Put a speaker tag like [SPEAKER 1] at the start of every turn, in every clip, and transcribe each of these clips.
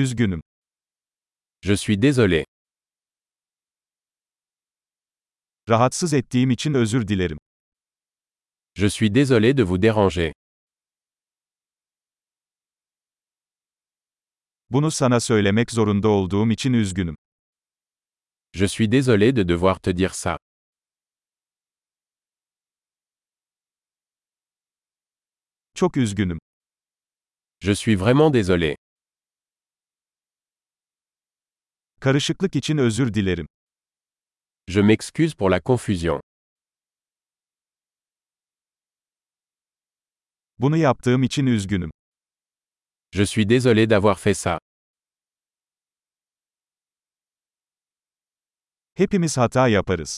[SPEAKER 1] Üzgünüm.
[SPEAKER 2] Je suis désolé.
[SPEAKER 1] Rahatsız ettiğim için özür dilerim.
[SPEAKER 2] Je suis désolé de vous déranger.
[SPEAKER 1] Bunu sana söylemek zorunda olduğum için üzgünüm.
[SPEAKER 2] Je suis désolé de devoir te dire ça.
[SPEAKER 1] Çok üzgünüm.
[SPEAKER 2] Je suis vraiment désolé.
[SPEAKER 1] Karışıklık için özür dilerim.
[SPEAKER 2] Je m'excuse pour la confusion.
[SPEAKER 1] Bunu yaptığım için üzgünüm.
[SPEAKER 2] Je suis désolé d'avoir fait ça.
[SPEAKER 1] Hepimiz hata yaparız.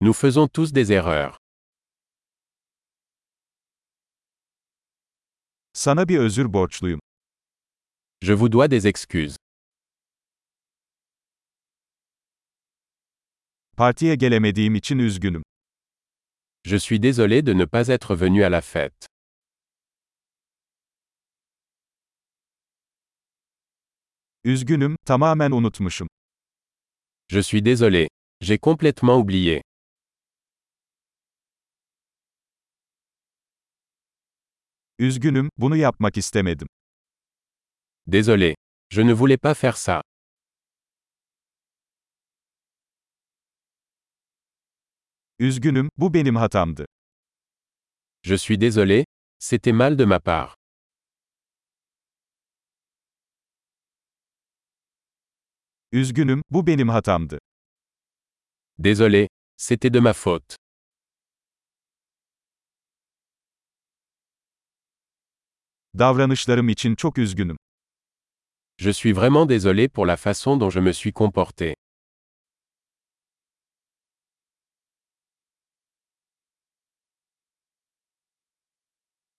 [SPEAKER 2] Nous faisons tous des erreurs.
[SPEAKER 1] Sana bir özür borçluyum.
[SPEAKER 2] Je vous dois des excuses.
[SPEAKER 1] Partiye gelemediğim için üzgünüm.
[SPEAKER 2] Je suis désolé de ne pas être venu à la fête.
[SPEAKER 1] Üzgünüm, tamamen unutmuşum.
[SPEAKER 2] Je suis désolé. J'ai complètement oublié.
[SPEAKER 1] Üzgünüm, bunu yapmak istemedim.
[SPEAKER 2] Désolé. Je ne voulais pas faire ça.
[SPEAKER 1] Üzgünüm, bu benim hatamdı.
[SPEAKER 2] Je suis désolé. C'était mal de ma part.
[SPEAKER 1] Üzgünüm, bu benim hatamdı.
[SPEAKER 2] Désolé. C'était de ma faute.
[SPEAKER 1] Davranışlarım için çok üzgünüm.
[SPEAKER 2] Je suis vraiment désolé pour la façon dont je me suis comporté.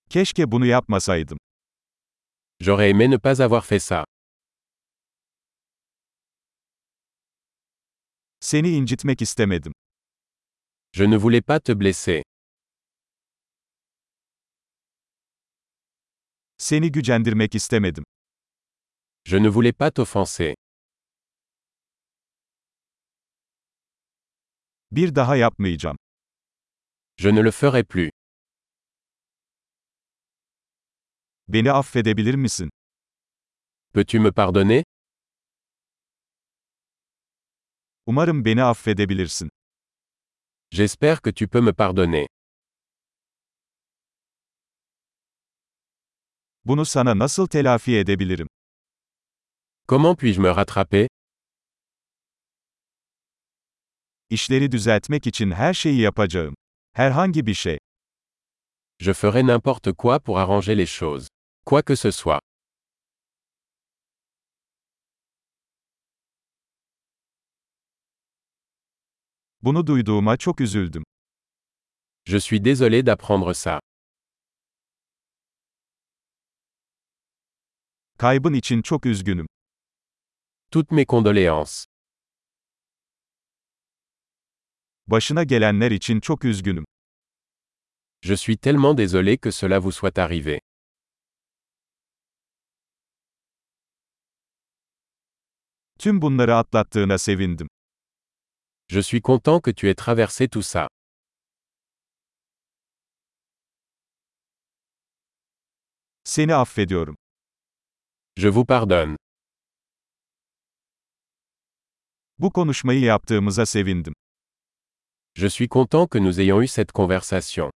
[SPEAKER 1] Keşke bunu yapmasaydım.
[SPEAKER 2] J'aurais aimé ne pas avoir fait ça.
[SPEAKER 1] Seni incitmek istemedim.
[SPEAKER 2] Je ne voulais pas te blesser.
[SPEAKER 1] Seni gücendirmek istemedim.
[SPEAKER 2] Je ne voulais pas t'offenser.
[SPEAKER 1] Bir daha yapmayacağım.
[SPEAKER 2] Je ne le ferai plus.
[SPEAKER 1] Beni affedebilir misin?
[SPEAKER 2] Peux-tu me pardonner
[SPEAKER 1] Umarım beni affedebilirsin.
[SPEAKER 2] J'espère que tu peux me pardonner.
[SPEAKER 1] Bunu sana nasıl telafi edebilirim?
[SPEAKER 2] Comment puis-je me rattraper
[SPEAKER 1] İşleri düzeltmek için her şeyi yapacağım. Herhangi bir şey.
[SPEAKER 2] Je ferai n'importe quoi pour arranger les choses. Quoi que ce soit.
[SPEAKER 1] Bunu duyduğuma çok üzüldüm.
[SPEAKER 2] Je suis désolé d'apprendre ça.
[SPEAKER 1] Kaybın için çok üzgünüm.
[SPEAKER 2] Toutes mes condoléances.
[SPEAKER 1] Başına gelenler için çok üzgünüm.
[SPEAKER 2] Je suis tellement désolé que cela vous soit arrivé.
[SPEAKER 1] Tüm bunları atlattığına sevindim.
[SPEAKER 2] Je suis content que tu aies traversé tout ça.
[SPEAKER 1] Seni affediyorum.
[SPEAKER 2] Je vous pardonne.
[SPEAKER 1] Bu konuşmayı yaptığımıza sevindim.
[SPEAKER 2] Je suis content que nous ayons eu cette conversation.